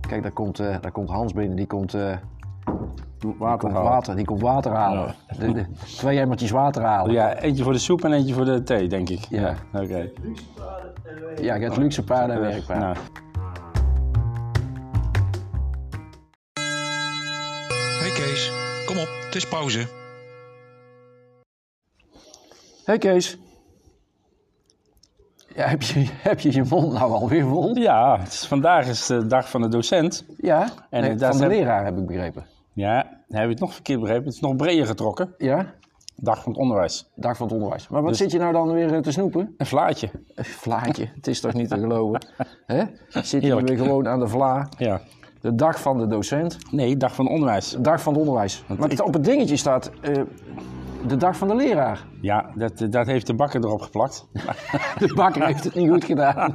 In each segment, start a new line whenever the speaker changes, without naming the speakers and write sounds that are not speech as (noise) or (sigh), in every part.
Kijk, daar komt, eh, daar komt Hans binnen, die komt, eh, die
Water
komt
halen.
water, die komt water halen. De, de- twee emmertjes water halen. Ja,
Oh Ja, eentje voor de soep en eentje voor de thee, denk ik.
Ja.
Oké.
ik heb luxe paarden en werkpaarden.
Nou,
Hey Kees, kom op, het is pauze.
Hey Kees. Ja, heb, je, (laughs) heb je je mond nou alweer vol?
ja, het is- vandaag is de dag van de docent.
Ja,
En
nee,
dat
van de
heb-
leraar heb ik begrepen.
Ja, dan heb je het nog verkeerd begrepen. Het is nog breder getrokken.
Ja,
Dag van het onderwijs.
dag van het onderwijs. Maar wat zit je nou dan weer eh, te snoepen?
Een vlaatje.
Een Vlaatje, Eh, het is toch niet (laughs) te geloven? Hè? Zit je
Heerlijk.
weer gewoon aan de vla?
Ja.
De dag van de docent,
Nee, dag van het onderwijs.
de dag van het onderwijs. Maar
ik-
op het dingetje staat eh, de dag van de leraar.
Ja, dat, dat heeft de bakker erop geplakt. (laughs)
De bakker heeft het niet goed gedaan.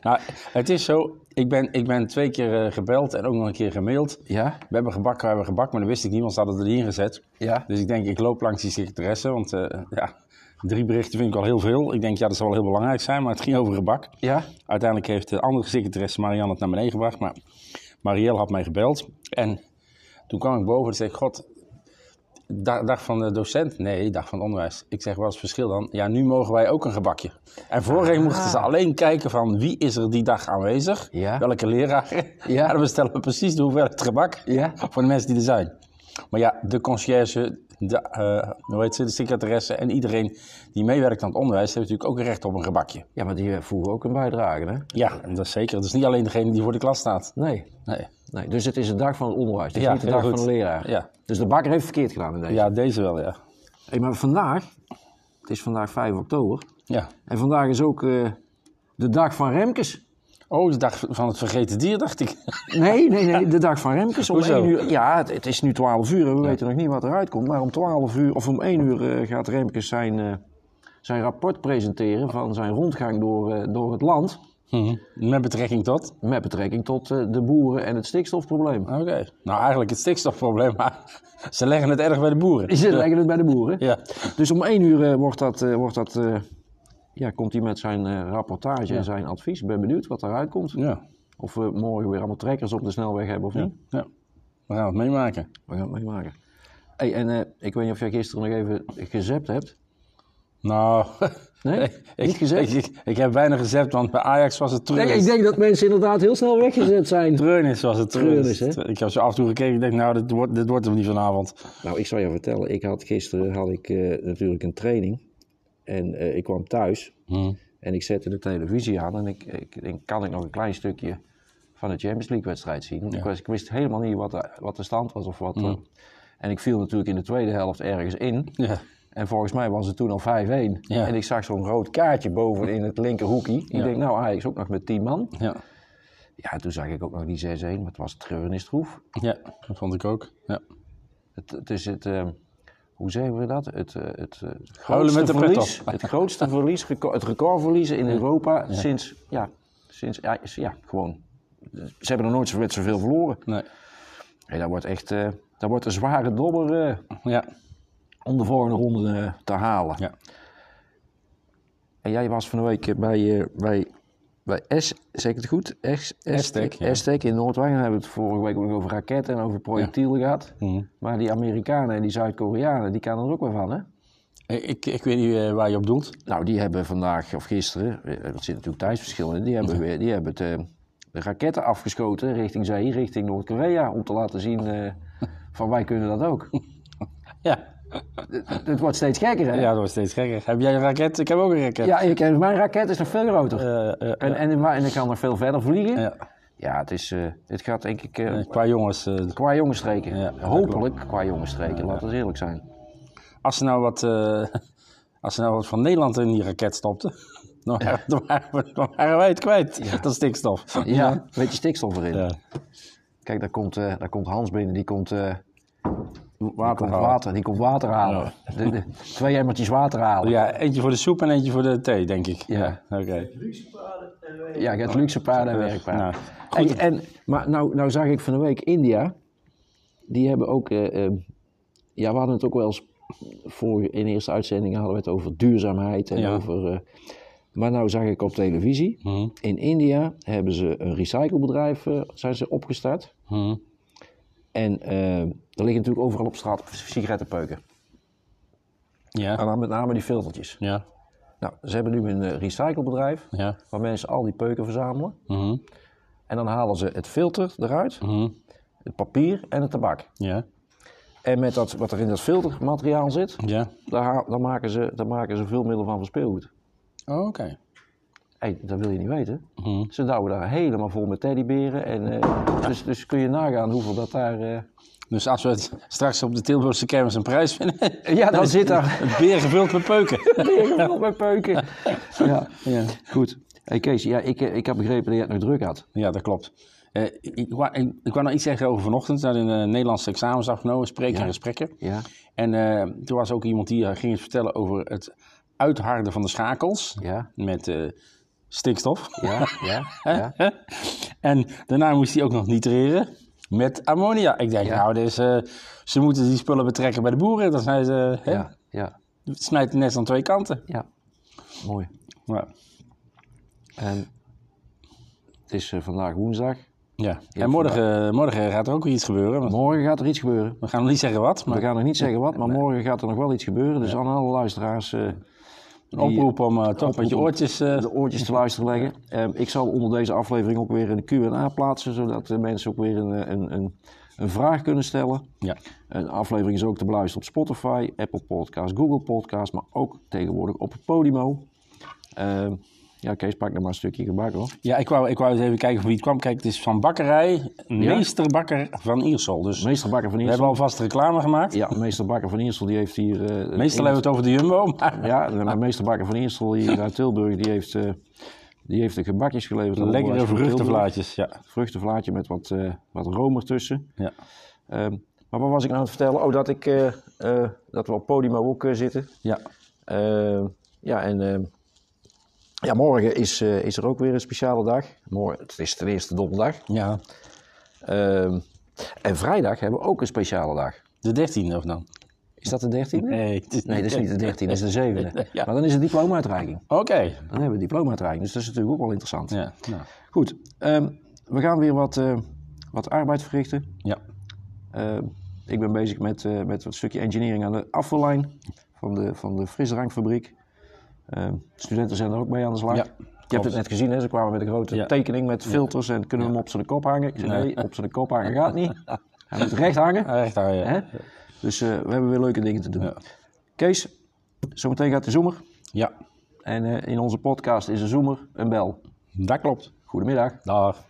Nou, het is zo. Ik ben, ik ben twee keer eh, gebeld en ook nog een keer gemaild.
(laughs) Ja?
We hebben gebakken, we hebben gebakken, maar dat wist ik niet, want ze hadden het erin gezet.
Ja.
Dus ik denk, ik loop langs die secretaresse, want eh, ja, drie berichten vind ik al heel veel. Ik denk, ja, dat zal wel heel belangrijk zijn, maar het ging over gebak.
Ja?
Uiteindelijk heeft de andere secretaresse Marianne het naar beneden gebracht, maar Marielle had mij gebeld. En toen kwam ik boven en zei ik, god, dag, dag van de docent? Nee, dag van het onderwijs. Ik zeg, wat is het verschil dan? Ja, nu mogen wij ook een gebakje. En vorige keer mochten ze alleen kijken van wie is er die dag aanwezig,
Ja.
welke leraar.
Ja.
Ja. dan bestellen we precies de hoeveelheid gebak
Ja.
voor de mensen die er zijn. Maar ja, de conciërge, de, eh hoe heet ze, de secretaresse en iedereen die meewerkt aan het onderwijs heeft natuurlijk ook recht op een gebakje.
Ja, maar die eh, voegen ook een bijdrage, hè?
Ja, en dat is zeker. Het is niet alleen degene die voor de klas staat.
Nee.
Nee.
nee. Dus het is de dag van het onderwijs, het is
Ja,
niet de
heel
dag
goed.
van de leraar.
Ja.
Dus de bakker heeft verkeerd gedaan in deze.
Ja, deze wel, ja.
Hey, maar vandaag, het is vandaag 5 oktober,
ja.
en vandaag is ook eh, de dag van Remkes.
Oh, de dag van het vergeten dier, dacht ik. (laughs)
Nee, nee, nee, de dag van Remkes. Om
Hoezo?
1 uur, ja, het, het is nu 12 uur en we weten nog niet wat eruit komt. Maar om 12 uur, of om 1 uur eh, gaat Remkes zijn, eh, zijn rapport presenteren van zijn rondgang door, eh, door het land.
Mhm. Met betrekking tot?
Met betrekking tot eh, de boeren en het stikstofprobleem.
Oké. Nou, eigenlijk het stikstofprobleem, maar (laughs) ze leggen het erg bij de boeren.
Ze leggen het bij de boeren.
Ja.
Dus om 1 uur eh, wordt dat, eh, wordt dat, eh, ja, komt hij met zijn eh, rapportage en zijn advies. Ik ben benieuwd wat eruit komt.
Ja.
Of we morgen weer allemaal trekkers op de snelweg hebben of niet.
ja. We gaan het meemaken.
We gaan het meemaken. Hey, en eh, ik weet niet of jij gisteren nog even gezept hebt.
Nou, (laughs)
Nee? Niet
ik,
gezet?
Ik, ik, ik heb weinig gezegd, want bij Ajax was het treurig.
denk dat mensen inderdaad heel snel weggezet zijn.
Treunis was het treunis.
Treunis, hè?
Ik heb zo af en toe gekeken, ik denk, nou, dit wordt, dit wordt hem niet vanavond.
Nou, ik zal je vertellen. Ik had gisteren had ik, eh, natuurlijk een training. En eh, ik kwam thuis. En ik zette de televisie aan. En ik, ik denk, kan ik nog een klein stukje van de Champions League wedstrijd zien? Want Ik, was, ik wist helemaal niet wat de, wat de stand was of wat... eh, en ik viel natuurlijk in de tweede helft ergens in.
Ja.
En volgens mij was het toen al 5-1.
Ja.
En ik zag zo'n rood kaartje boven in het linkerhoekie. Ik
Ja.
denk, nou Ajax ook nog met 10 man.
Ja.
Ja, toen zag ik ook nog die 6-1, maar het was treurnistroef.
ja, dat vond ik ook. Ja.
Het, het is het, eh, hoe zeggen we dat? Het, eh, het, eh,
Huilen
grootste
met de pet
verlies,
op.
het grootste verlies, reco- het record verliezen in Europa sinds, ja, sinds, ja, is- ja, gewoon. Ze hebben er nooit zo- met zoveel verloren.
Nee.
Hey, dat wordt echt, eh, dat wordt een zware dobber eh,
Ja.
om de volgende ronde eh, te halen.
Ja.
En jij was van de week bij, eh, bij, bij S, zeg ik het goed? S,
Aztec, ja.
Aztec in Noordwijk. Dan hebben we het vorige week ook nog over raketten en over projectielen gehad.
Mhm.
Maar die Amerikanen en die Zuid-Koreanen, die kennen er ook wel van, hè?
Ik, ik, ik weet niet eh, waar je op doelt.
Nou, die hebben vandaag of gisteren, eh, er zit natuurlijk tijdsverschil in, die hebben, weer, die hebben het, eh, de raketten afgeschoten richting zee, richting Noord-Korea, om te laten zien
(laughs)
eh, van wij kunnen dat ook.
Ja.
het wordt steeds gekker, hè?
ja, dat wordt steeds gekker. Heb jij een raket? Ik heb ook een raket.
Ja, ik, eh, mijn raket is nog veel groter.
Eh, eh,
en, en, en ik kan nog veel verder vliegen.
ja.
Ja, het, is, eh, het gaat denk ik eh,
Eh, Qua jongens, eh,
qua jongensstreken.
Ja, dat
Hopelijk qua jongensstreken, laten we eerlijk zijn.
Als ze nou wat, eh, als ze nou wat van Nederland in die raket stopten, (laughs) dan, waren- dan waren, we- dan waren wij het kwijt, dat stikstof.
Ja, een beetje stikstof erin.
Ja.
Kijk, daar komt, eh, daar komt Hans binnen, die komt, eh, die
Water
komt
halen.
water, die komt water halen. De, de- twee emmertjes water halen.
Ja, eentje voor de soep en eentje voor de thee, denk ik.
Ja.
Oké.
Ja, je hebt luxe paarden en werkpaarden.
Nou,
Hey, en, maar nou, nou zag ik van de week India, die hebben ook, eh, eh, ja we hadden het ook wel eens, voor, in de eerste uitzendingen hadden we het over duurzaamheid en
Ja.
over, eh, Maar nou zag ik op televisie,
Mhm.
in India hebben ze een recyclebedrijf eh, zijn ze opgestart.
Mhm.
En eh, er liggen natuurlijk overal op straat sigarettenpeuken. En
Ja.
dan met name die filtertjes.
Ja.
Nou, ze hebben nu een eh, recyclebedrijf
Ja.
waar mensen al die peuken verzamelen.
Mhm.
En dan halen ze het filter eruit,
Mhm.
het papier en het tabak.
Ja.
En met dat, wat er in dat filtermateriaal zit,
Ja.
daar, ha- daar, maken, ze, daar maken ze veel middel van voor speelgoed.
Oh, Oké.
Hé, dat wil je niet weten.
Mhm.
Ze douwen daar helemaal vol met teddyberen. En, eh, dus, dus kun je nagaan hoeveel dat daar... eh,
Dus als we het straks op de Tilburgse kermis een prijs vinden,
Ja, dan zit daar (laughs)
(laughs) een beer gevuld met peuken.
tegenveld met peuken. Ja,
Ja.
goed. Hey Kees, ja, ik, eh, ik heb begrepen dat jij het nog druk had.
Ja, dat klopt. Eh, ik, wou, ik, ik wou nog iets zeggen over vanochtend. We hadden een eh, Nederlandse examensdag genomen, spreken en gesprekken.
Ja,
En eh, toen was ook iemand die eh, ging iets vertellen over het uitharden van de schakels
ja,
met eh, stikstof.
ja, ja, ja.
en daarna moest hij ook nog nitreren met ammonia. Ik denk,
Ja.
nou, dus, eh, ze moeten die spullen betrekken bij de boeren. Dan zijn ze, hè,
Ja, ja,
het snijdt net aan twee kanten.
ja. Mooi.
Ja.
En het is eh, vandaag woensdag.
Ja.
Ja,
En morgen, eh, morgen gaat er ook weer iets gebeuren. want
Morgen gaat er iets gebeuren.
we gaan nog niet zeggen wat, maar
We gaan nog niet zeggen wat, maar morgen gaat er nog wel iets gebeuren. Dus aan alle luisteraars eh,
een oproep om eh, toch met je
oproep.
oortjes... eh,
de oortjes te luisteren leggen. Eh, ik zal onder deze aflevering ook weer een Q&A plaatsen, zodat de mensen ook weer een, eh, een, een, een vraag kunnen stellen.
ja.
Een aflevering is ook te beluisteren op Spotify, Apple Podcast, Google Podcast, maar ook tegenwoordig op Podimo. Ehm, ja, Kees, pak nog maar een stukje gebak hoor.
ja, ik wou, ik wou eens even kijken van wie het kwam. Kijk, het is van bakkerij Meester Bakker van Iersel. Dus
Meester Bakker van
we
Iersel.
hebben alvast reclame gemaakt.
Ja, meester Bakker van Iersel die heeft hier... eh, een
Meestal hebben we het over de Jumbo, (laughs) maar
Ja, maar meester Bakker van Iersel hier uit Tilburg, die heeft, eh, die heeft de gebakjes geleverd. aan
lekkere
onderwijs van Tilburg.
vruchtenvlaatjes. Ja.
Vruchtenvlaatje met wat, eh wat room ertussen.
Ja.
Ehm, maar wat was ik nou aan het vertellen? Oh, dat, ik, eh, eh, dat we op Podimo ook eh, zitten.
Ja.
Eh, ja, en eh, ja, morgen is, eh, is er ook weer een speciale dag. Morgen, het is de eerste donderdag.
ja,
Ehm, en vrijdag hebben we ook een speciale dag.
de dertiende of dan?
Is dat de 13e?
Nee, het is
Nee, dat is niet de 13e, dat is de 7e.
(laughs) Ja.
Maar dan is het diploma-uitreiking.
Oké.
Dan hebben we diploma-uitreiking, dus dat is natuurlijk ook wel interessant.
Ja, nou,
Goed, ehm, we gaan weer wat, eh, wat arbeid verrichten.
ja.
Eh, ik ben bezig met, eh met een stukje engineering aan de afvoerlijn van de, van de frisdrankfabriek. Eh, studenten zijn er ook mee aan de slag.
Ja,
Je hebt het net gezien, hè? ze kwamen met een grote
Ja.
tekening met filters en kunnen we hem op zijn kop hangen? Ik zei, nee, op zijn kop hangen gaat
(laughs)
niet. Hij moet recht hangen.
Echt daar, ja.
Hè? Dus eh, we hebben weer leuke dingen te doen.
Ja.
Kees, zometeen gaat de zoemer.
ja,
En eh, in onze podcast is de zoemer een bel.
dat klopt.
Goedemiddag.
Dag.